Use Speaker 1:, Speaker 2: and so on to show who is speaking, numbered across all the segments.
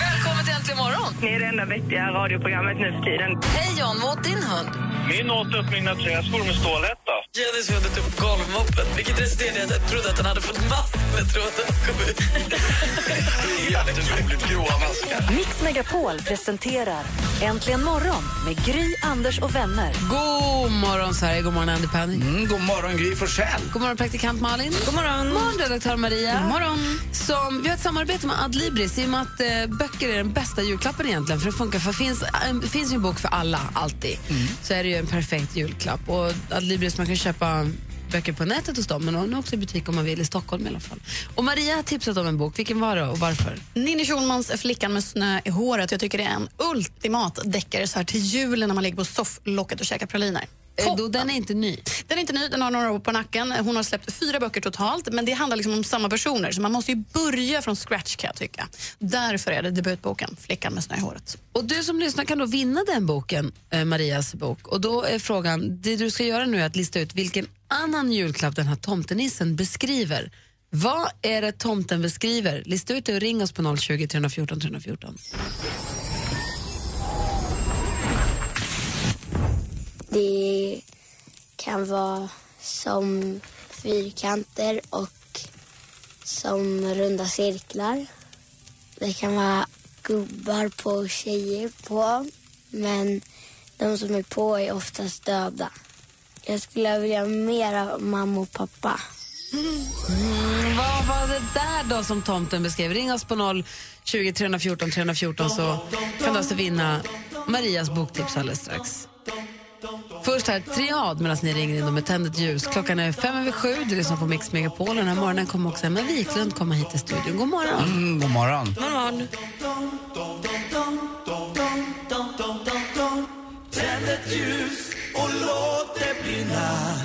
Speaker 1: Välkommen till Äntligen morgon!
Speaker 2: Ni är det enda vettiga radioprogrammet nu för tiden.
Speaker 1: Hej John, vad åt din hund?
Speaker 3: Min åt upp mina träskor med stålhätta.
Speaker 4: Jennys hund åt upp typ golvmoppen, vilket resulterade i att jag trodde att han hade fått mask, men jag trodde att han kom ut.
Speaker 3: Jätteroligt typ gråa maskar.
Speaker 5: Mix Megapol presenterar Äntligen morgon med Gry, Anders och vänner.
Speaker 1: God morgon Sverige, god morgon Andy Pandy.
Speaker 6: Mm, god morgon Gry Forssell.
Speaker 1: God morgon praktikant Malin. God morgon. morgon redaktör Maria. God morgon. Som, vi har ett samarbete med Adlibris i och med att eh, böcker är den bästa julklappen egentligen. För det funkar, för finns, eh, finns ju en bok för alla, alltid.
Speaker 6: Mm.
Speaker 1: Så är det ju en perfekt julklapp. Och Adlibris, man kan köpa böcker på nätet hos dem, men hon är också i butik om man vill, i Stockholm i alla fall. Och Maria har tipsat om en bok, vilken var det och varför?
Speaker 7: Ninni Schulmans Flickan med snö i håret. Jag tycker det är en ultimat deckare så här till julen när man ligger på sofflocket och käkar praliner.
Speaker 1: Eh, Då, den är inte ny.
Speaker 7: Den är inte ny, den har några år på nacken. Hon har släppt fyra böcker totalt, men det handlar liksom om samma personer så man måste ju börja från scratch kan jag tycka. Därför är det debutboken Flickan med snö i håret.
Speaker 1: Och du som lyssnar kan då vinna den boken, eh, Marias bok. Och då är frågan, det du ska göra nu är att lista ut vilken annan julklapp den här tomtenissen beskriver. Vad är det tomten beskriver? Lista ut det och ring oss på 020 314 314.
Speaker 8: Det kan vara som fyrkanter och som runda cirklar. Det kan vara gubbar på och tjejer på. Men de som är på är oftast döda. Jag skulle vilja ha mer av mamma och pappa.
Speaker 1: Mm, vad var det där då som tomten beskrev? Ring oss på 020 314 314 så kan du alltså vinna Marias boktips alldeles strax. Först här, Triad, medan ni ringer in och med tändet ljus. Klockan är fem över sju, du lyssnar på Mix Megapol. och Den här morgonen kommer också Emma Wiklund komma hit till studion. God morgon!
Speaker 6: Mm, god morgon.
Speaker 1: morgon.
Speaker 4: Tänd ett ljus och låt det brinna.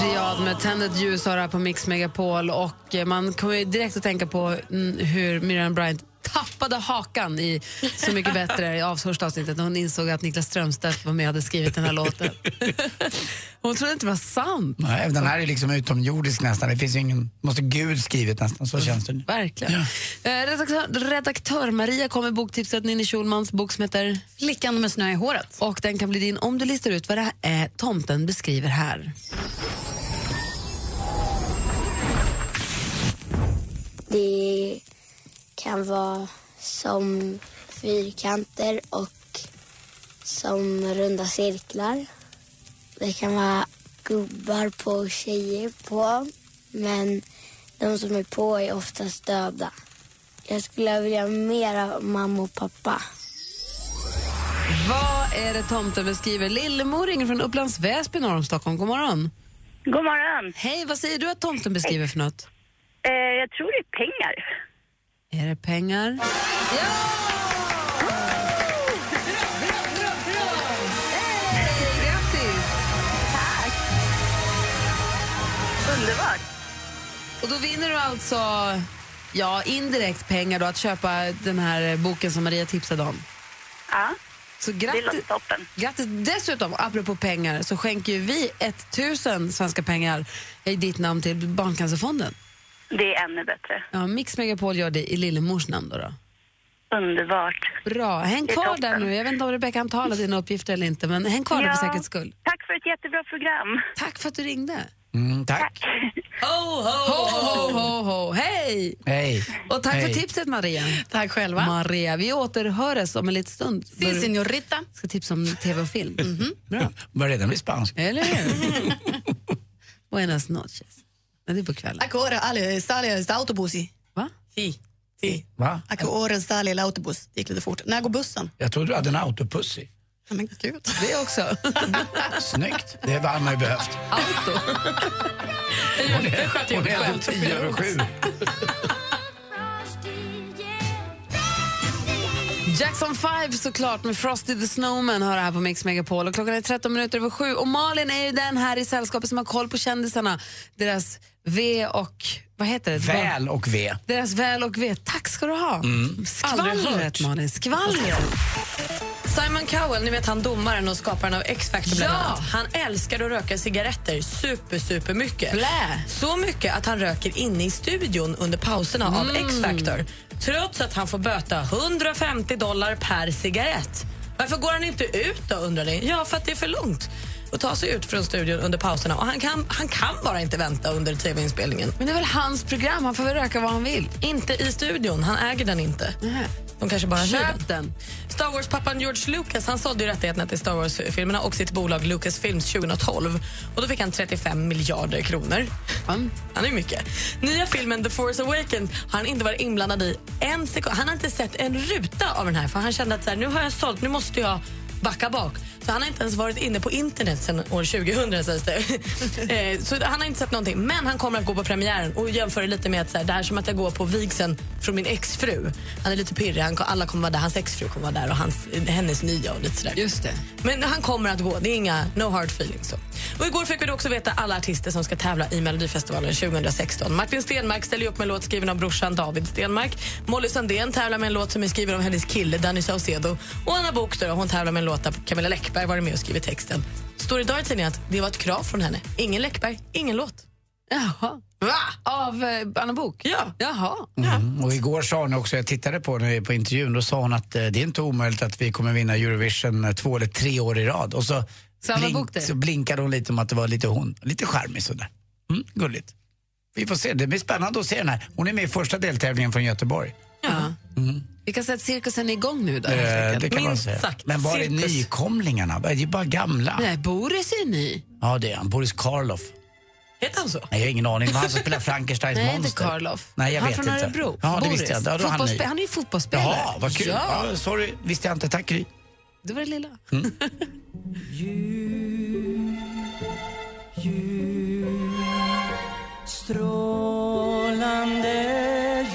Speaker 1: Triad med tändet ljus har det här på Mix Megapol och eh, man kommer ju direkt att tänka på mm, hur Miriam Bryant tappade hakan i Så mycket bättre i avförsta avsnittet när hon insåg att Niklas Strömstedt var med och hade skrivit den här låten. hon trodde inte det var sant.
Speaker 6: Nej, den här är liksom utomjordisk nästan. Det finns ju ingen, måste Gud skrivit nästan, så känns det. nu.
Speaker 1: Verkligen. Eh, Redaktör, redaktör Maria kommer med boktipset Ninni Schulmans bok som heter
Speaker 7: Flickan med snö i håret.
Speaker 1: och den kan bli din om du listar ut vad det här är Eh, tomten beskriver här.
Speaker 8: Det kan vara som fyrkanter och som runda cirklar. Det kan vara gubbar på och tjejer på. Men de som är på är oftast döda. Jag skulle vilja ha mer av mamma och pappa.
Speaker 1: Vad är det tomten beskriver? Lillemor ringer från Upplands Väsby norr om Stockholm. God morgon.
Speaker 2: God morgon.
Speaker 1: Hej, vad säger du att tomten beskriver för något?
Speaker 2: Eh, jag tror det är pengar.
Speaker 1: Är det pengar? Ja! Hej, grattis!
Speaker 2: Underbart.
Speaker 1: Och då vinner du alltså, ja, indirekt pengar då, att köpa den här eh, boken som Maria tipsade om.
Speaker 2: Ja,
Speaker 1: Så
Speaker 2: det låter
Speaker 1: grattis!
Speaker 2: toppen.
Speaker 1: Grattis! Dessutom, apropå pengar, så skänker ju vi 1000 svenska pengar i ditt namn till Barncancerfonden.
Speaker 2: Det är ännu bättre.
Speaker 1: Ja, Mix Megapol gör det i Lillemors namn då. då.
Speaker 2: Underbart.
Speaker 1: Bra, häng
Speaker 2: Det är
Speaker 1: kvar där
Speaker 2: toppen.
Speaker 1: nu. Jag vet inte om Rebecka hann ta alla dina uppgifter eller inte, men häng kvar där för säkerhets skull.
Speaker 2: Tack för ett jättebra program.
Speaker 1: Tack för att du ringde.
Speaker 6: Mm, tack.
Speaker 1: Ho, ho, ho, ho, ho. Hej!
Speaker 6: Hej.
Speaker 1: Och tack
Speaker 6: Hej.
Speaker 1: för tipset, Maria.
Speaker 7: Tack själva.
Speaker 1: Maria, vi återhörs om en liten stund. Då
Speaker 7: Sin
Speaker 1: du
Speaker 7: signorita.
Speaker 1: ska tipsa om tv och film. Bra.
Speaker 6: Börjar redan bli spansk.
Speaker 1: Eller hur? Buenas noches. Nej, det är på kvällen.
Speaker 7: Acora alle stalia esta autobusi.
Speaker 1: Va?
Speaker 7: Si. Si.
Speaker 6: Va?
Speaker 7: Acora stalia la autobus. Det gick lite fort. När går bussen?
Speaker 6: Jag trodde du hade en autopussy.
Speaker 7: Ja, Men gud.
Speaker 1: Det också.
Speaker 6: Snyggt. Det hade man ju behövt.
Speaker 1: Auto.
Speaker 6: Hon är, hon är ändå tio över sju.
Speaker 1: Jackson 5 såklart med Frosty the Snowman hör det här på Mix Megapol. Och klockan är 13 minuter över sju och Malin är ju den här i sällskapet som har koll på kändisarna. Deras V och... Vad heter det?
Speaker 6: Väl och ve.
Speaker 1: Deras väl och ve. Tack ska du ha.
Speaker 6: Mm.
Speaker 9: Aldrig
Speaker 1: Skvallret,
Speaker 9: hört.
Speaker 1: Malin. Skvallret.
Speaker 9: Simon Cowell, ni vet han domaren och skaparen av X-Factor bland annat. Han älskar att röka cigaretter super, super mycket.
Speaker 1: Blä.
Speaker 9: Så mycket att han röker inne i studion under pauserna av
Speaker 1: Mm.
Speaker 9: X-Factor. Trots att han får böta 150 dollar per cigarett. Varför går han inte ut då undrar ni? Ja, för att det är för långt att ta sig ut från studion under pauserna och han kan, han kan bara inte vänta under tv-inspelningen.
Speaker 1: Men det är väl hans program? Han får väl röka vad han vill?
Speaker 9: Inte i studion, han äger den inte. De kanske bara hyr
Speaker 1: Köp den.
Speaker 9: Star Wars-pappan George Lucas han sålde ju rättigheterna till Star Wars-filmerna och sitt bolag Lucasfilms 2012. Och Då fick han 35 miljarder kronor. Han är ju mycket. Nya filmen The Force Awakens har han inte varit inblandad i en sekund. Han har inte sett en ruta av den här för han kände att så här, nu har jag sålt, nu måste jag backa bak. Så han har inte ens varit inne på internet sedan år 2000 sägs det. Eh, så han har inte sett någonting. Men han kommer att gå på premiären och jämför det lite med att så här, det här är som att jag går på vigseln från min exfru. Han är lite pirrig, han, alla kommer vara där, hans exfru kommer vara där och hans, hennes nya och lite sådär.
Speaker 1: Just det.
Speaker 9: Men han kommer att gå, det är inga no hard feelings. Så. Och igår fick vi då också veta alla artister som ska tävla i Melodifestivalen 2016. Martin Stenmark ställer ju upp med en låt skriven av brorsan David Stenmark. Molly Sandén tävlar med en låt som är skriven av hennes kille Danny Saucedo. Och Anna Book då, hon tävlar med en låt där Camilla Läckberg varit med och skrivit texten. Står idag i tidningen att det var ett krav från henne. Ingen Läckberg, ingen låt.
Speaker 1: Jaha. Av eh, Anna Bok?
Speaker 9: Ja.
Speaker 1: Jaha.
Speaker 6: Mm. Och igår sa hon också, jag tittade på henne på intervjun, då sa hon att eh, det är inte omöjligt att vi kommer vinna Eurovision eh, två eller tre år i rad. Och så,
Speaker 1: Sa Anna Bok det?
Speaker 6: så blinkade hon lite om att det var lite hon, lite charmig sådär. Mm, gulligt. Vi får se, det blir spännande att se den här. Hon är med i första deltävlingen från Göteborg.
Speaker 1: Ja. Vi kan säga att cirkusen är igång nu. Då, helt
Speaker 6: Mm. Eh,
Speaker 1: enkelt.
Speaker 6: det kan man säga. Men var är nykomlingarna? Det är ju bara gamla.
Speaker 1: Nej, Boris är ny.
Speaker 6: Ja, det är han. Boris Karloff.
Speaker 9: Heter han så?
Speaker 6: Nej, jag har ingen aning. Det var han som spelade Frankensteins
Speaker 1: Nej,
Speaker 6: monster.
Speaker 1: inte Karloff.
Speaker 6: Nej, jag
Speaker 1: han
Speaker 6: vet
Speaker 1: från
Speaker 6: inte.
Speaker 1: Örebro.
Speaker 6: Ja, det
Speaker 1: Boris.
Speaker 6: visste jag inte. Ja, då är han,
Speaker 1: Fotbollspe-
Speaker 6: ny.
Speaker 1: han, är ju fotbollsspelare.
Speaker 6: Jaha, vad kul.
Speaker 1: Ja.
Speaker 6: Ja. sorry, visste jag inte. Tack, Gry.
Speaker 1: Det var det lilla.
Speaker 6: Mm.
Speaker 4: Strålande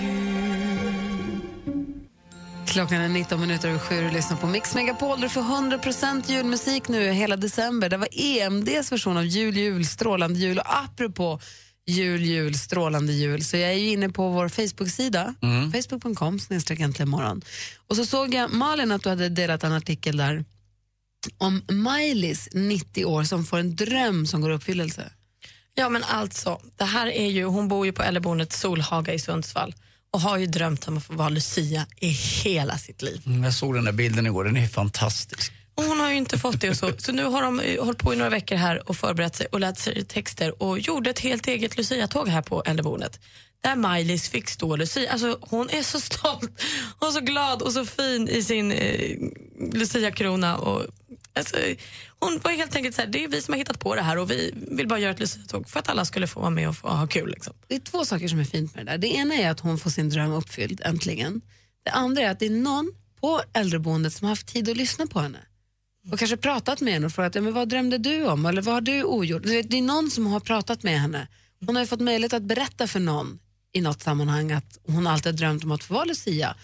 Speaker 1: Klockan är 19 minuter över sju och lyssnar på Mix Megapol. Du får 100% julmusik nu hela december. Det var EMDs version av Jul, jul, strålande jul. Och apropå jul, jul, strålande jul så jag är ju inne på vår Facebook-sida,
Speaker 7: Mm.
Speaker 1: facebook.com snedstreck äntligen morgon. Och så såg jag, Malin, att du hade delat en artikel där om Miley's 90 år som får en dröm som går i uppfyllelse.
Speaker 9: Ja, men alltså, det här är ju, hon bor ju på äldreboendet Solhaga i Sundsvall och har ju drömt om att få vara Lucia i hela sitt liv.
Speaker 6: Mm, Jag såg den där bilden igår. Den är fantastisk.
Speaker 9: Och hon har ju inte fått det och så. Så nu har de eh, hållit på i några veckor här och förberett sig och lärt sig texter och gjorde ett helt eget Lucia-tåg här på äldreboendet. Där Miley's fick stå Lucia. Alltså hon är så stolt och så glad och så fin i sin eh, Lucia-krona. Och, alltså, hon var helt enkelt så här, det är vi som har hittat på det här och vi vill bara göra ett Lucia-tåg för att alla skulle få vara med och få ha kul. Liksom.
Speaker 1: Det är två saker som är fint med det där. Det ena är att hon får sin dröm uppfylld äntligen. Det andra är att det är någon på äldreboendet som har haft tid att lyssna på henne. Och kanske pratat med henne och frågat ja, men vad drömde du om eller vad har du ogjort? Du vet, Det är någon som har pratat med henne. Hon har ju fått möjlighet att berätta för någon i något sammanhang att hon alltid har drömt om att få vara Lucia.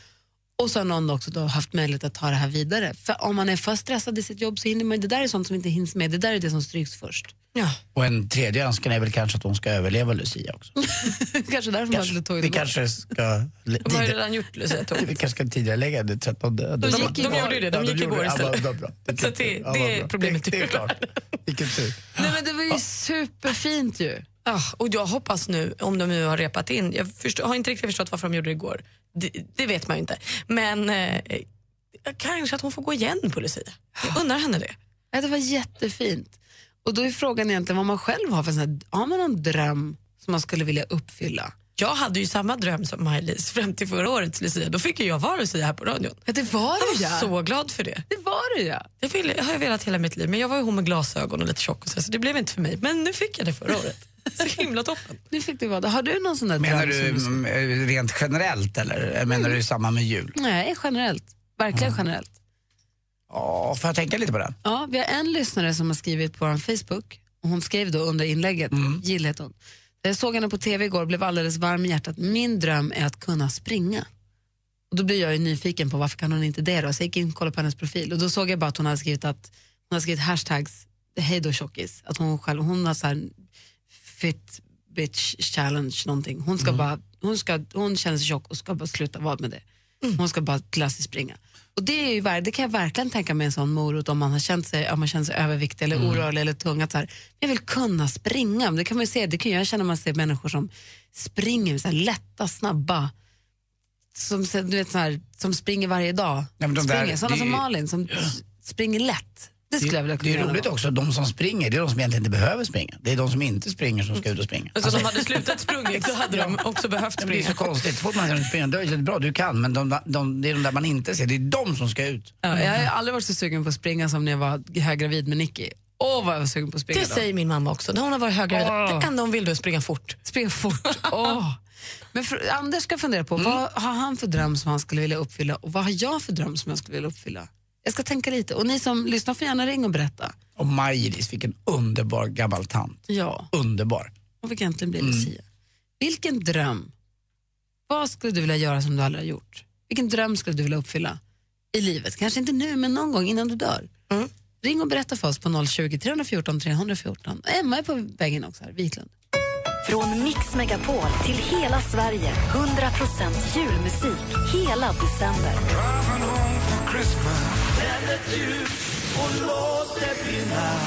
Speaker 1: Och så har någon också då haft möjlighet att ta det här vidare. För om man är för stressad i sitt jobb så hinner man, det där är sånt som inte hinns med, det där är det som stryks först.
Speaker 6: Och en tredje önskan är väl kanske att hon ska överleva Lucia också.
Speaker 1: kanske därför man skulle ta
Speaker 6: Vi kanske ska...
Speaker 9: De har ju redan gjort Lucia-tåget.
Speaker 6: Vi kanske ska tidigare lägga det 13 De,
Speaker 9: De gick igår. Ja, de gjorde det. Ja, vad bra. Så det- det är problemet.
Speaker 6: Det, det är klart. Vilken tur.
Speaker 1: Nej, men det var ju superfint ju.
Speaker 9: Ja, Ah, och jag hoppas nu, om de nu har repat in, jag förstår, har inte riktigt förstått varför de gjorde det igår. Det, det vet man ju inte. Men eh, kanske att hon får gå igen på Lucia. Jag undrar henne det.
Speaker 1: Ja, det var jättefint. Och då är frågan egentligen vad man själv har för sån här, har man någon dröm som man skulle vilja uppfylla?
Speaker 9: Jag hade ju samma dröm som Maj-Lis fram till förra årets Lucia. Då fick ju jag vara Lucia här på radion.
Speaker 1: Ja, det var
Speaker 9: jag
Speaker 1: det,
Speaker 9: var
Speaker 1: ja.
Speaker 9: så glad för det.
Speaker 1: Det var det ja.
Speaker 9: Det vill, har jag velat hela mitt liv, men jag var ju hon med glasögon och lite tjock och så, så det blev inte för mig. Men nu fick jag det förra året. Så himla toppen.
Speaker 1: Nu fick du vara det. Har du någon sån där
Speaker 6: Menar
Speaker 1: dröm?
Speaker 6: du
Speaker 1: som
Speaker 6: mm, eh, rent generellt eller menar du i samband med jul?
Speaker 1: Nej, generellt. Verkligen generellt.
Speaker 6: Ja, får jag tänka lite på den?
Speaker 1: Ja, vi har en lyssnare som har skrivit på vår Facebook. Och Hon skrev då under inlägget, mm. hon. Jag såg henne på tv igår och blev alldeles varm i hjärtat. Min dröm är att kunna springa. Och då blev jag ju nyfiken på varför kan hon inte det då? Så jag gick in och kollade på hennes profil och då såg jag bara att hon hade skrivit att hon hade skrivit hashtags hej då tjockis. Att hon själv, hon har så här fit bitch challenge någonting. Hon
Speaker 6: Mm.
Speaker 1: ska bara, hon, ska, hon känner sig tjock och ska bara sluta vara med det.
Speaker 6: Mm.
Speaker 1: Hon ska bara klassiskt springa. Och det, är ju, ver- det kan jag verkligen tänka mig en sån morot om man har känt sig, om man känner sig överviktig
Speaker 6: Mm.
Speaker 1: eller orörlig eller tung. Att så här, jag vill kunna springa. Det kan man ju se, det kan jag känna när man ser människor som springer så här, lätta, snabba. Som, så- du vet, så här, som springer varje dag.
Speaker 6: Nej, men de där-
Speaker 1: springer. Sådana
Speaker 6: det
Speaker 1: som
Speaker 6: är-
Speaker 1: Malin som s- springer lätt. Det skulle jag vilja
Speaker 6: Det är
Speaker 1: kunna
Speaker 6: roligt
Speaker 1: göra.
Speaker 6: också, de som springer, det är de som egentligen inte behöver springa. Det är de som inte springer som ska ut och springa.
Speaker 9: Alltså, de hade slutat sprungit, då hade de också behövt
Speaker 6: Ja, men Det är
Speaker 9: springa.
Speaker 6: så konstigt. Så fort man ser dem springa, då är det bra, du kan. Men de, de, det är de där man inte ser, det är de som ska ut.
Speaker 1: Ja, jag har aldrig varit så sugen på att springa som när jag var höggravid med Nicky. Åh, vad jag var sugen på att springa
Speaker 9: Det
Speaker 1: då.
Speaker 9: säger min mamma också. När hon har varit höggravid,
Speaker 6: Ah.
Speaker 9: det enda hon vill då är springa fort.
Speaker 1: Springa fort. Åh. Men för, Anders ska fundera på
Speaker 9: Mm.
Speaker 1: vad har han för dröm som han skulle vilja uppfylla och vad har jag för dröm som jag skulle vilja uppfylla? Jag ska tänka lite. Och ni som lyssnar får gärna ringa och berätta.
Speaker 6: Och Maj-Lis, vilken underbar gammal tant.
Speaker 1: Ja,
Speaker 6: Underbar.
Speaker 1: hon fick äntligen bli Lucia. Vilken dröm? Vad skulle du vilja göra som du aldrig har gjort? Vilken dröm skulle du vilja uppfylla i livet? Kanske inte nu, men någon gång innan du dör. Ring och berätta för oss på 020 314 314. Emma är på vägen också här, Viklund.
Speaker 5: Från Mix Megapol till hela Sverige. 100% julmusik hela december.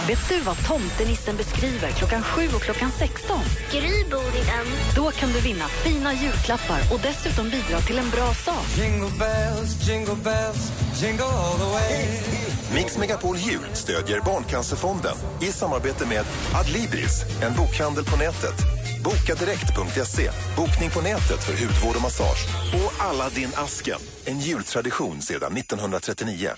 Speaker 5: Vet du vad tomtenissen beskriver klockan 7 och klockan 16?
Speaker 8: Gry bor i den.
Speaker 5: Då kan du vinna fina julklappar och dessutom bidra till en bra sak.
Speaker 10: Mix Megapol Jul stödjer Barncancerfonden i samarbete med Adlibris, en bokhandel på nätet, bokadirekt.se, bokning på nätet för hudvård och massage och Aladdin-asken, en jultradition sedan 1939.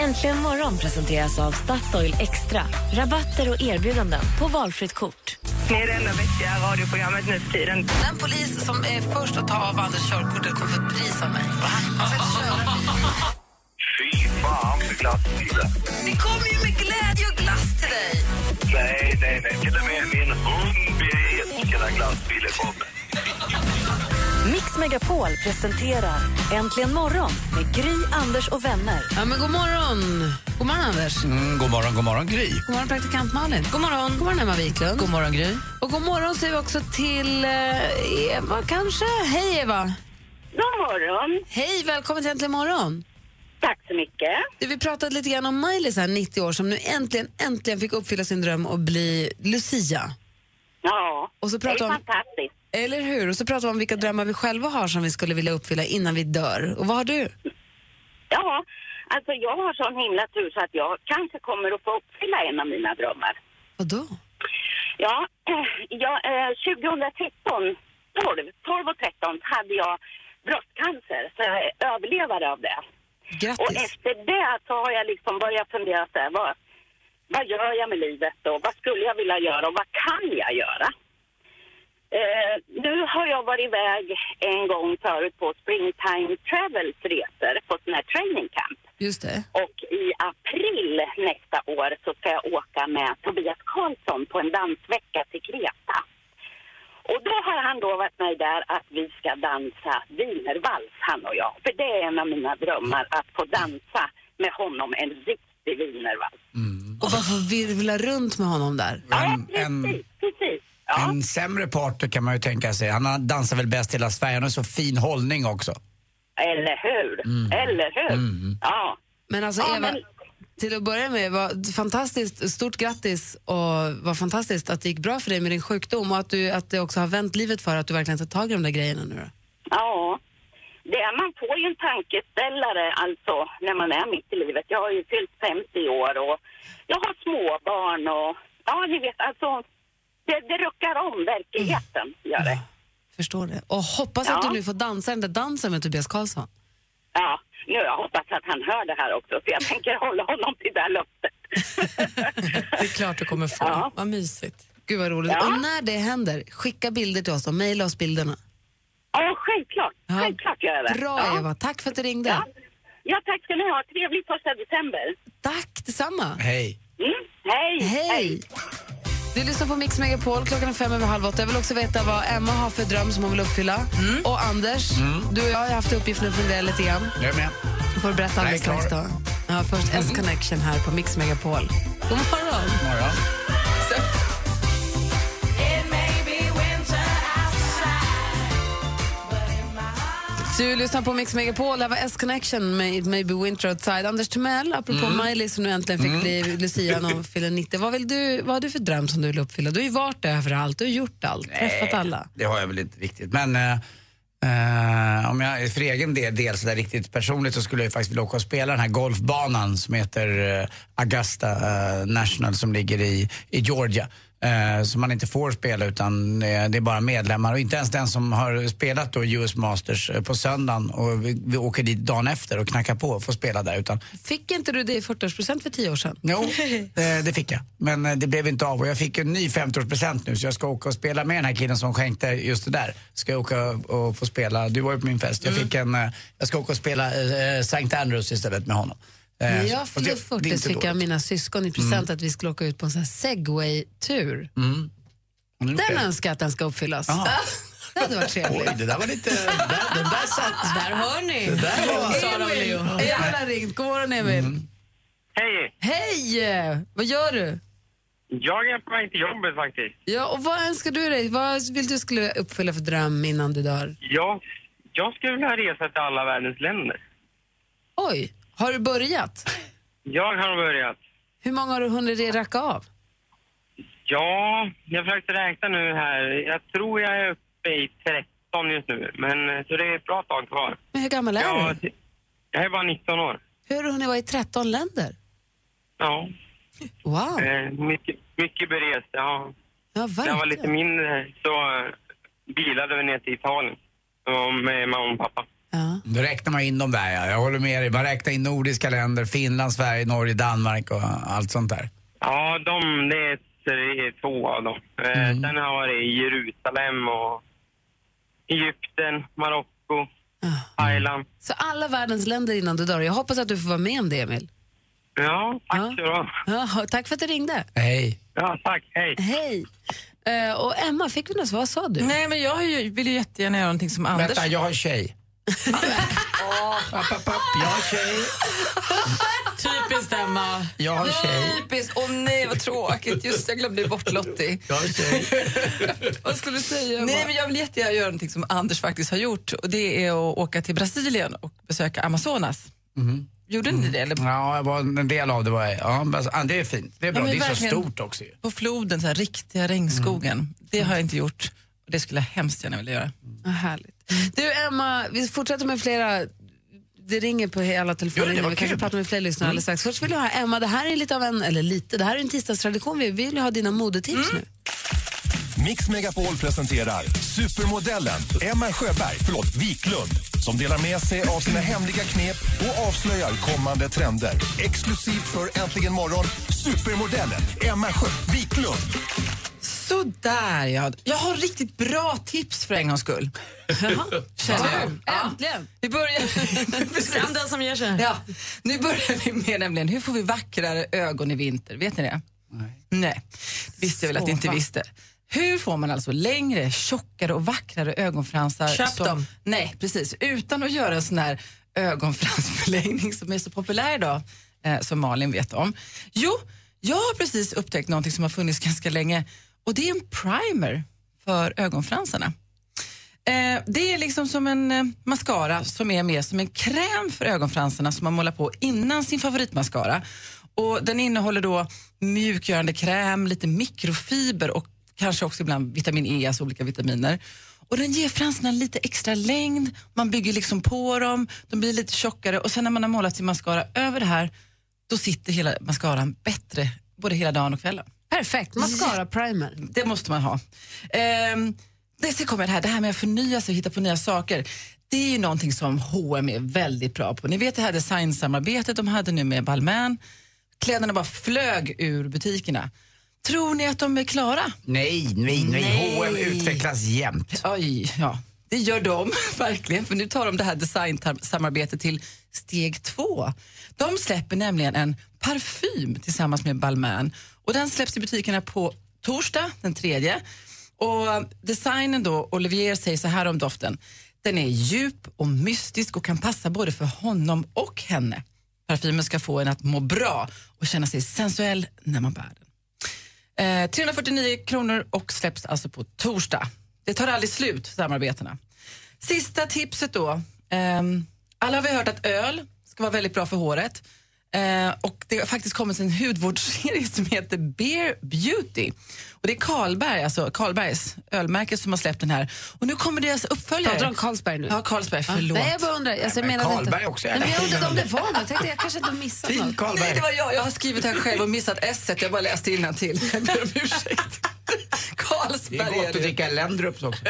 Speaker 5: Äntligen morgon presenteras av Statoil Extra. Rabatter och erbjudanden på valfritt kort.
Speaker 2: Ni är det enda vettiga radioprogrammet nu för tiden.
Speaker 1: Den polis som är först att ta av Anders körkortet kommer få ett pris av mig.
Speaker 3: Fy fan för glassbilen.
Speaker 1: Det kommer ju med glädje och glass till dig.
Speaker 3: Nej, nej, nej. Till och med min hund blir älskad när glassbilen kommer.
Speaker 5: Mix Megapol presenterar Äntligen morgon med Gry, Anders och vänner.
Speaker 1: Ja, men god morgon! God morgon, Anders.
Speaker 6: Mm, god morgon, god morgon Gry.
Speaker 1: God morgon, praktikant Malin. God morgon. God morgon, Emma Wiklund. God morgon, Gry. Och god morgon säger vi också till eh, Eva, kanske. Hej, Eva.
Speaker 2: God morgon.
Speaker 1: Hej, välkommen till Äntligen morgon.
Speaker 2: Tack så mycket.
Speaker 1: Du, vi pratade lite grann om Miley, här, 90 år, som nu äntligen, äntligen fick uppfylla sin dröm att bli Lucia.
Speaker 2: Ja,
Speaker 1: Och så
Speaker 2: det är
Speaker 1: pratar vi om,
Speaker 2: fantastiskt.
Speaker 1: eller hur? Och så pratar vi om vilka drömmar vi själva har som vi skulle vilja uppfylla innan vi dör. Och vad har du?
Speaker 2: Ja, alltså jag har sån himla tur så att jag kanske kommer att få uppfylla en av mina drömmar.
Speaker 1: Vadå?
Speaker 2: Ja, eh, jag, eh, 2013, 12, 12 och 13 hade jag bröstcancer, så jag är överlevare av det. Och
Speaker 1: Grattis.
Speaker 2: efter det så har jag liksom börjat fundera så här, vad, vad gör jag med livet och vad skulle jag vilja göra och vad kan jag göra? Eh, nu har jag varit iväg en gång förut på Springtime Travels resor på sån här training camp.
Speaker 1: Just det.
Speaker 2: Och i april nästa år så ska jag åka med Tobias Karlsson på en dansvecka till Kreta. Och då har han lovat mig där att vi ska dansa wienervals, han och jag. För det är en av mina drömmar, att få dansa med honom en riktig wienervals.
Speaker 1: Och bara få virvla runt med honom där.
Speaker 6: En,
Speaker 2: ja,
Speaker 6: en,
Speaker 2: precis, precis. Ja.
Speaker 6: en sämre partner kan man ju tänka sig. Han har- dansar väl bäst i hela Sverige. Han har så fin hållning också. Mm.
Speaker 2: Eller hur? Eller hur? Ja.
Speaker 1: Men alltså
Speaker 2: Ja,
Speaker 1: Eva,
Speaker 2: men-
Speaker 1: till att börja med, vad fantastiskt, stort grattis och vad fantastiskt att det gick bra för dig med din sjukdom och att, du, att det också har vänt livet för att du verkligen tar tag i de där grejerna nu då.
Speaker 2: Ja. Det är, man får ju en tankeställare alltså när man är mitt i livet. Jag har ju fyllt 50 år och jag har småbarn och ja, ni vet alltså. Det, det ruckar om
Speaker 9: Mm.
Speaker 2: verkligheten, gör det.
Speaker 1: Förstår det. Och hoppas att
Speaker 2: Ja.
Speaker 1: du nu får dansa den där dansen med Tobias Karlsson.
Speaker 2: Ja, nu jag hoppas att han hör det här också så jag tänker hålla honom till det här löftet.
Speaker 9: Det är klart du kommer få.
Speaker 2: Ja.
Speaker 9: Vad mysigt.
Speaker 1: Gud vad roligt.
Speaker 2: Ja.
Speaker 1: Och när det händer, skicka bilder till oss och mejla oss bilderna.
Speaker 2: Ja, självklart.
Speaker 1: Ja.
Speaker 2: Självklart gör jag det.
Speaker 1: Bra
Speaker 2: ja.
Speaker 1: Eva, tack för att du ringde.
Speaker 2: Ja. ja, tack ska ni ha. Trevlig första december.
Speaker 1: Tack detsamma.
Speaker 6: Hej.
Speaker 2: Mm. Hej!
Speaker 1: Hej! Du lyssnar på Mix Megapol klockan är fem över halv åtta. Jag vill också veta vad Emma har för dröm som hon vill uppfylla. Och Anders,
Speaker 6: Mm.
Speaker 1: du och jag har haft uppgiften att fundera lite grann.
Speaker 6: Jag är med.
Speaker 1: Du får berätta
Speaker 6: Jag är
Speaker 1: alldeles strax då.
Speaker 6: klar.
Speaker 1: Ja, först
Speaker 6: Mm.
Speaker 1: S-Connection här på Mix Megapol. God morgon!
Speaker 6: morgon.
Speaker 1: Du lyssnar på Mix Megapol. Det här var S-Connection med It May Be Winter Outside. Anders Timell, apropå
Speaker 11: Mm.
Speaker 1: Miley som nu äntligen fick
Speaker 11: Mm.
Speaker 1: bli Lucia när hon fyller 90. Vad, vill du, vad har du för dröm som du vill uppfylla? Du har ju varit överallt, du har gjort allt, träffat alla.
Speaker 6: Det har jag väl inte riktigt. Men eh, eh, om jag för egen del, del så där riktigt personligt så skulle jag ju faktiskt vilja åka och spela den här golfbanan som heter eh, Augusta eh, National som ligger i, i Georgia. Eh, som man inte får spela utan eh, det är bara medlemmar och inte ens den som har spelat då US Masters eh, på söndagen och vi, vi åker dit dagen efter och knackar på och får spela där utan
Speaker 1: Fick inte du det i 40-årspresent för tio år sedan?
Speaker 6: Jo. Eh, Det fick jag, men eh, det blev inte av. Och jag fick en ny 50-årspresent nu så jag ska åka och spela med den här killen som skänkte just det där. Ska jag åka och få spela, du var ju på min fest, jag,
Speaker 11: Mm.
Speaker 6: fick en, eh, jag ska åka och spela eh, St. Andrews istället med honom. Eh,
Speaker 1: När
Speaker 6: så-
Speaker 1: jag
Speaker 6: och
Speaker 1: fyllde
Speaker 6: det- det är
Speaker 1: 40
Speaker 6: inte
Speaker 1: fick jag
Speaker 6: dåligt.
Speaker 1: av mina syskon i present att vi skulle åka ut på en sån här segway-tur.
Speaker 6: Mm. Har ni gjort
Speaker 1: Den
Speaker 6: det?
Speaker 11: alltså.
Speaker 1: önskar jag att den ska uppfyllas.
Speaker 6: Ja.
Speaker 1: det hade varit trevligt.
Speaker 6: Oj, det där var lite... Där, den där satt.
Speaker 11: Där hör ni.
Speaker 6: Det där var-
Speaker 11: Sara och Leo.
Speaker 1: Emil har ringt. God morgon, Emil.
Speaker 6: Mm.
Speaker 12: Hej!
Speaker 1: Hej! Vad gör du?
Speaker 12: Jag är på väg till jobbet faktiskt.
Speaker 1: Ja, och vad önskar du dig? Vad vill du skulle uppfylla för dröm innan du dör?
Speaker 12: Jag, jag skulle vilja resa till alla världens länder.
Speaker 1: Oj, har du börjat?
Speaker 12: Jag har börjat.
Speaker 1: Hur många har du hunnit racka av?
Speaker 12: Ja, jag försökte räkna nu här. Jag tror jag är uppe i 13 just nu, men eh, så det är ett bra tag kvar.
Speaker 1: Men hur gammal är
Speaker 12: Ja,
Speaker 1: du?
Speaker 12: Jag är bara 19 år.
Speaker 1: Hur har du hunnit vara i 13 länder?
Speaker 12: Ja.
Speaker 1: Wow.
Speaker 12: Eh, mycket, mycket berest. Ja.
Speaker 1: Ja,
Speaker 12: När jag var lite mindre så eh, bilade vi ner till Italien Och med mamma och pappa.
Speaker 6: Då räknar man in de där, ja. jag håller med dig. Man räknar in nordiska länder, Finland, Sverige, Norge, Danmark och allt sånt där.
Speaker 12: Ja, de, det är tre, två av dem. Eh, Sen har jag varit i Jerusalem och Egypten, Marocko, Thailand.
Speaker 1: Så alla världens länder innan du dör. Jag hoppas att du får vara med om det, Emil.
Speaker 12: Ja, tack så bra.
Speaker 1: Ja, tack för att du ringde.
Speaker 6: Hej.
Speaker 12: Ja, tack. Hej.
Speaker 1: Hej. Eh, och Emma, fick vi något svar? Vad sa du?
Speaker 11: Nej, men jag har ju- vill ju jättegärna göra någonting som Anders...
Speaker 6: Vänta, jag har tjej. App, app, app. Jag har tjej.
Speaker 11: Typiskt Emma.
Speaker 6: Jag har tjej.
Speaker 11: Typiskt. Åh nej, vad tråkigt. Just jag glömde ju bort Lottie.
Speaker 6: Jag har tjej.
Speaker 11: Vad skulle du säga? Nej, men jag vill jättegärna göra någonting som Anders faktiskt har gjort och det är att åka till Brasilien och besöka Amazonas. Gjorde ni det? Eller?
Speaker 6: Mm. Ja, jag var en del av det var jag. Ja, men, alltså, ja, det är fint. Det är bra.
Speaker 11: Ja, men
Speaker 6: det är
Speaker 11: verkligen.
Speaker 6: så stort också ju.
Speaker 11: På floden, så här, riktiga regnskogen.
Speaker 1: Mm.
Speaker 11: Det har jag inte gjort och det skulle jag hemskt gärna vilja göra.
Speaker 1: Vad Ah, härligt. Du, Emma, vi fortsätter med flera... Det ringer på alla telefoner.
Speaker 11: Jo, det
Speaker 1: innan.
Speaker 11: var
Speaker 1: vi kanske
Speaker 11: kul. Mm.
Speaker 1: pratar med fler lyssnare alldeles strax. Först vill jag höra Emma, det här är lite av en, eller lite, det här är en tisdagstradition. Vi vill ha dina modetips
Speaker 11: Mm.
Speaker 1: nu.
Speaker 10: Mix Megapol presenterar supermodellen Emma Sjöberg, förlåt, Wiklund som delar med sig av sina hemliga knep och avslöjar kommande trender. Exklusivt för Äntligen morgon, supermodellen Emma Sjö Wiklund.
Speaker 11: Sådär ja. Jag har riktigt bra tips för en gångs skull. Känner du?
Speaker 1: Äntligen!
Speaker 11: Vi börjar... Fram den som ger sig. Ja. Nu börjar vi med nämligen, hur får vi vackrare ögon i vinter? Vet ni det? Nej. Nej. visste jag väl att ni inte
Speaker 1: Sova.
Speaker 11: visste. Hur får man alltså längre, tjockare och vackrare ögonfransar?
Speaker 1: Köp
Speaker 11: som-
Speaker 1: dem.
Speaker 11: Nej, precis. Utan att göra en sån här ögonfransförlängning som är så populär idag, eh, som Malin vet om. Jo, jag har precis upptäckt någonting som har funnits ganska länge och det är en primer för ögonfransarna. Eh, det är liksom som en eh, mascara som är mer som en kräm för ögonfransarna som man målar på innan sin favoritmascara. Och den innehåller då mjukgörande kräm, lite mikrofiber och kanske också ibland vitamin E, alltså olika vitaminer. Och den ger fransarna lite extra längd, man bygger liksom på dem, de blir lite tjockare och sen när man har målat sin mascara över det här, då sitter hela mascaran bättre både hela dagen och kvällen.
Speaker 1: Perfekt, mascara primer.
Speaker 11: Det måste man ha. Ehm, det så kommer det här, det här med att förnya sig och hitta på nya saker. Det är ju någonting som H&M är väldigt bra på. Ni vet det här designsamarbetet de hade nu med Balmain. Kläderna bara flög ur butikerna. Tror ni att de är klara?
Speaker 6: Nej, nej, nej.
Speaker 11: Nej.
Speaker 6: H&M utvecklas jämt.
Speaker 11: Oj, ja. Det gör de, verkligen. För nu tar de det här designsamarbetet till steg två. De släpper nämligen en parfym tillsammans med Balmain. Och den släpps i butikerna på torsdag den tredje. Och designen då, Olivier säger så här om doften. Den är djup och mystisk och kan passa både för honom och henne. Parfymen ska få en att må bra och känna sig sensuell när man bär den. Eh, 349 kronor och släpps alltså på torsdag. Det tar aldrig slut, samarbetena. Sista tipset då. Ehm, alla har vi hört att öl ska vara väldigt bra för håret. Eh, och Det har faktiskt kommit en hudvårdsserie som heter Beer Beauty. Och Det är Carlberg, alltså Carlbergs ölmärke som har släppt den här. Och Nu kommer deras uppföljare.
Speaker 1: Pratar du om Carlsberg nu?
Speaker 11: Ja, Carlsberg. Förlåt.
Speaker 1: Nej, jag bara undrar. Alltså, jag
Speaker 11: Nej, men
Speaker 1: menade
Speaker 11: Carlberg
Speaker 1: inte.
Speaker 11: också,
Speaker 1: Nej,
Speaker 11: jag
Speaker 1: men jag
Speaker 11: vet
Speaker 1: undrade om
Speaker 11: inte.
Speaker 1: det var något. Jag tänkte jag kanske inte har missat något.
Speaker 11: Nej, det var jag. Jag har skrivit här själv och missat s Jag bara läste innantill. Jag ber om ursäkt.
Speaker 6: Det är
Speaker 11: Carlsberg
Speaker 6: gott att dricka Lendrups också.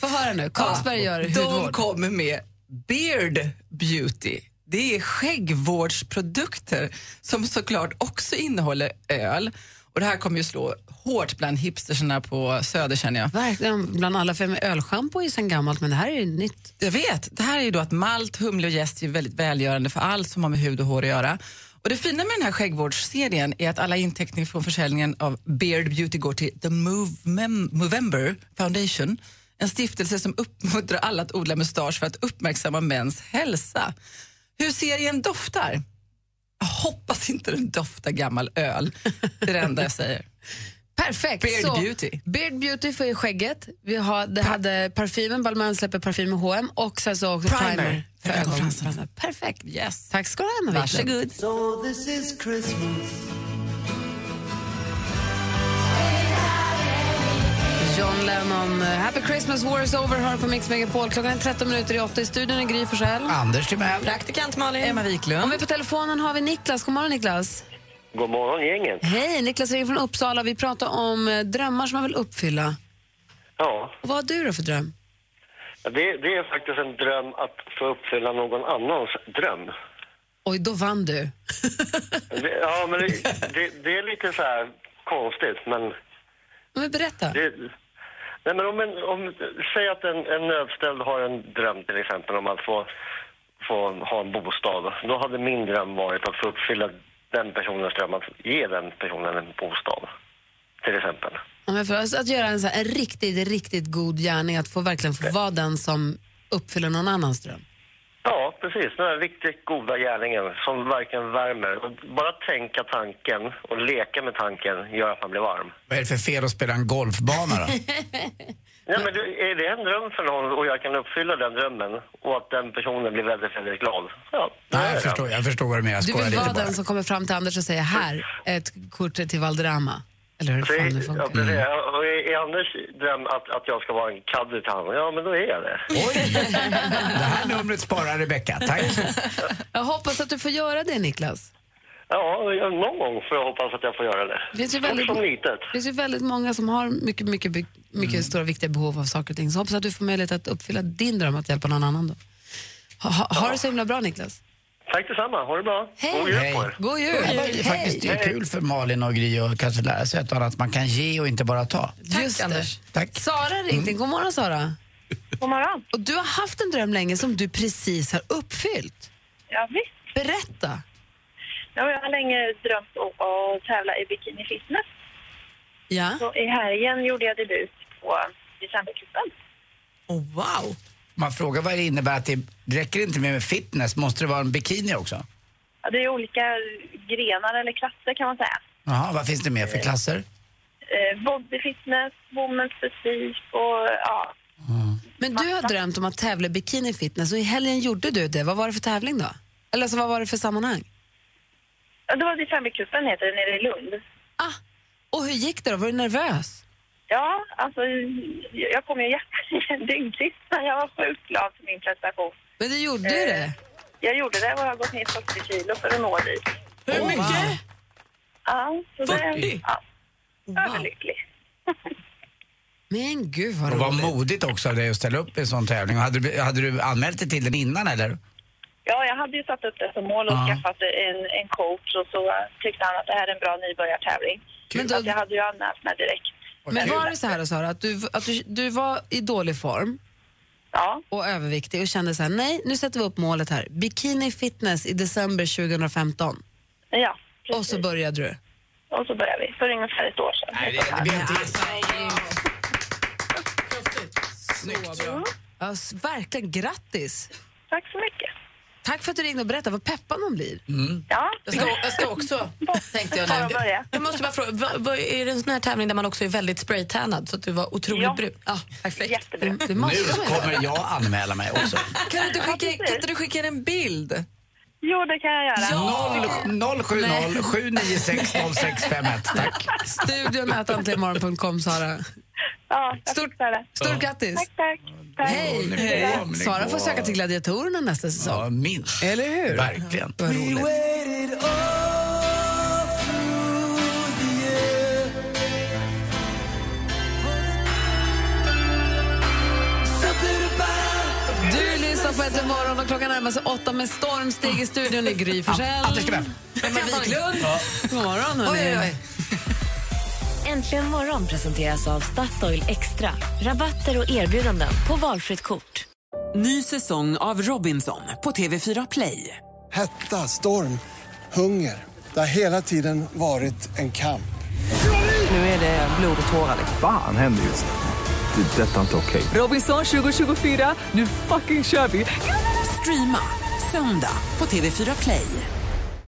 Speaker 1: Få höra nu. Carlsberg gör hudvård.
Speaker 11: De kommer med Beard Beauty. Det är skäggvårdsprodukter som såklart också innehåller öl. Och Det här kommer ju slå hårt bland hipsterserna på Söder känner jag.
Speaker 1: Verkligen. Bland alla fem ölschampo är ju sen gammalt, men det här är ju nytt.
Speaker 11: Jag vet. Det här är ju då att malt, humle och jäst är ju väldigt välgörande för allt som har med hud och hår att göra. Och Det fina med den här skäggvårdsserien är att alla intäkter från försäljningen av Beard Beauty går till The Movem- Movember Foundation. En stiftelse som uppmuntrar alla att odla mustasch för att uppmärksamma mäns hälsa. Hur serien doftar? Jag hoppas inte den doftar gammal öl. Det är det enda jag säger.
Speaker 1: Perfekt.
Speaker 11: Beard
Speaker 1: så,
Speaker 11: Beauty.
Speaker 1: Beard Beauty för skägget. Vi har, det hade parfymen, Balmain släpper parfym och H&M och sen så också primer,
Speaker 11: Primer.
Speaker 1: för ögonfransarna. Perfekt.
Speaker 11: Yes.
Speaker 1: Tack ska du ha, Emma Wiklund.
Speaker 11: Varsågod.
Speaker 13: So this is Christmas.
Speaker 1: John Lennon, eh, Happy Christmas, War is over, hör på Mix Megapol. Klockan är 13 minuter i 8 i studion är Gry Forssell.
Speaker 6: Anders Timell.
Speaker 1: Praktikant Malin.
Speaker 11: Emma Wiklund.
Speaker 1: Och med på telefonen har vi Niklas. God morgon Niklas.
Speaker 14: God morgon gänget.
Speaker 1: Hej, Niklas ringer från Uppsala. Vi pratar om eh, drömmar som man vill uppfylla.
Speaker 14: Ja,
Speaker 1: Och vad har du då för dröm?
Speaker 14: det, det är faktiskt en dröm att få uppfylla någon annans dröm.
Speaker 1: Oj, då vann du.
Speaker 14: Det, ja, men det, det, det är lite så här konstigt, men...
Speaker 1: Men berätta.
Speaker 14: Det, nej, men om en, om, säg att en, en nödställd har en dröm till exempel om att få, få ha en bostad. Då hade min dröm varit att få uppfylla den personens dröm att ge den personen en bostad. Till exempel.
Speaker 1: Ja, men för oss att göra en, så här, en riktigt, riktigt god gärning, att få verkligen få vara den som uppfyller någon annans dröm.
Speaker 14: Ja, precis. Den här riktigt goda gärningen som verkligen värmer. Och Bara tänka tanken och leka med tanken gör att man blir varm.
Speaker 6: Vad är det för fel att spela en golfbana då?
Speaker 14: Nej, men du, är det en dröm för någon och jag kan uppfylla den drömmen och att den personen blir väldigt, väldigt glad. Ja,
Speaker 6: Nej, jag förstår, jag förstår vad du menar. Jag
Speaker 1: Du
Speaker 6: skojar
Speaker 1: vill
Speaker 6: lite
Speaker 1: vara
Speaker 6: bara.
Speaker 1: den som kommer fram till Anders och säger här, ett kort till Valderrama. Eller hur fan det Mm.
Speaker 14: Ja,
Speaker 1: funkar.
Speaker 14: precis. Och är är Anders dröm att, att jag ska vara en caddy till honom, ja men då är jag det.
Speaker 6: Det här numret sparar Rebecka. Tack.
Speaker 1: Jag hoppas att du får göra det, Niklas.
Speaker 14: Ja, jag- någon gång får jag hoppas att jag får göra det.
Speaker 1: Finns det
Speaker 14: Fort
Speaker 1: väldigt-
Speaker 14: som litet.
Speaker 1: Det finns ju väldigt många som har mycket, mycket, mycket stora viktiga behov av saker och ting. Så hoppas att du får möjlighet att uppfylla din dröm att hjälpa någon annan då. Ha, ha, ha det så himla bra, Niklas.
Speaker 14: Tack detsamma, ha det bra.
Speaker 1: Hej.
Speaker 14: God jul på er.
Speaker 1: God jul.
Speaker 6: Det var ju
Speaker 1: Hej.
Speaker 6: faktiskt det är kul för Malin och Gry att kanske lära sig ett och annat man kan ge och inte bara ta.
Speaker 1: Tack, Just Anders. Tack. Sara ringde. in. God morgon, Sara.
Speaker 15: God morgon.
Speaker 1: Och du har haft en dröm länge som du precis har uppfyllt.
Speaker 15: Ja, visst.
Speaker 1: Berätta.
Speaker 15: Ja, jag har länge drömt om att tävla i bikini fitness.
Speaker 1: Ja.
Speaker 15: Så i helgen gjorde jag debut på decembercupen.
Speaker 1: Oh,
Speaker 6: wow! Man frågar vad det innebär att det räcker inte med fitness, måste det vara en bikini också?
Speaker 15: Ja, Det är olika grenar eller klasser kan man säga.
Speaker 6: Jaha, vad finns det mer för klasser?
Speaker 15: Eh, Body fitness, women's fysik och ja.
Speaker 1: Men du har drömt om att tävla i bikini fitness och i helgen gjorde du det. Vad var det för tävling då? Eller alltså, vad var det för sammanhang?
Speaker 15: Ja, Det var decembercupen heter det nere i Lund.
Speaker 1: Ah, och hur gick det då? Var du nervös?
Speaker 15: Ja, alltså jag kom ju jätte- dygdigt men jag var sjukt glad för min prestation.
Speaker 1: Men du gjorde ju det.
Speaker 15: Jag gjorde det och jag har gått ner 40 kilo för att nå dit.
Speaker 1: Hur mycket?
Speaker 15: Ja, så det...
Speaker 6: 40?
Speaker 15: Ja, överlycklig.
Speaker 1: Men gud vad
Speaker 6: Och vad modigt också av dig att ställa upp i en sån tävling. Och Hade du, hade du anmält dig till den innan eller?
Speaker 15: Ja, jag hade ju satt upp det som mål och skaffat en, en coach och så tyckte han att det här är en bra nybörjartävling. Men då... att jag hade ju anmält mig direkt.
Speaker 1: Men var det så här då, Sara, att, du, att du, du var i dålig form
Speaker 15: ja.
Speaker 1: och överviktig och kände så här, nej, nu sätter vi upp målet här. Bikini fitness i december 2015.
Speaker 15: Ja,
Speaker 1: och så började du.
Speaker 11: Och så började vi för ungefär ett år sedan.
Speaker 6: Nej, det, det blir inte
Speaker 1: Snyggt. Ja, s- verkligen grattis. Tack så mycket. Tack för att du ringde och berättade. Vad peppad man blir.
Speaker 6: Mm.
Speaker 11: Ja.
Speaker 9: Jag ska, jag ska också, tänkte jag
Speaker 1: Bara
Speaker 9: nu.
Speaker 1: börja.
Speaker 9: Jag måste bara fråga, vad, vad, är det en sån här tävling där man också är väldigt spraytannad så att du var otroligt
Speaker 1: Ja.
Speaker 9: brun? Ja, perfekt.
Speaker 1: Jättebrun.
Speaker 9: Det
Speaker 6: Nu
Speaker 9: måste man ju vara.
Speaker 6: kommer jag anmäla mig också.
Speaker 16: Kan du, inte skicka, kan inte du skicka en bild?
Speaker 11: Jo, det kan jag göra.
Speaker 6: Noll- 070 796 0651. Tack.
Speaker 1: Studion at antligenmorgon.com, Sara.
Speaker 11: Ja, jag
Speaker 1: Stort,
Speaker 11: fixar det.
Speaker 1: stort grattis.
Speaker 11: Tack, tack. tack.
Speaker 1: Hej! Hej. Sara får söka till Gladiatorerna nästa säsong.
Speaker 6: Ja, minst.
Speaker 1: Eller hur?
Speaker 6: Verkligen.
Speaker 1: Vad roligt. Du lyssnar på Äntligen morgon och klockan närmar sig åtta med stormsteg i studion i Gry Forssell.
Speaker 17: Anders Timell.
Speaker 1: Emma Wiklund.
Speaker 17: Ja.
Speaker 1: God morgon, hörni.
Speaker 17: Oj, oj, oj. Äntligen morgon presenteras av Statoil Extra. Rabatter och erbjudanden på valfritt kort.
Speaker 15: Ny säsong av Robinson på TV4 Play.
Speaker 10: Hetta, storm, hunger. Det har hela tiden varit en kamp.
Speaker 15: Nu är det blod och tårar. liksom.
Speaker 18: Fan händer just nu. Det. är Detta är inte okej.
Speaker 15: Robinson 2024, nu fucking kör vi! Streama söndag på TV4 Play.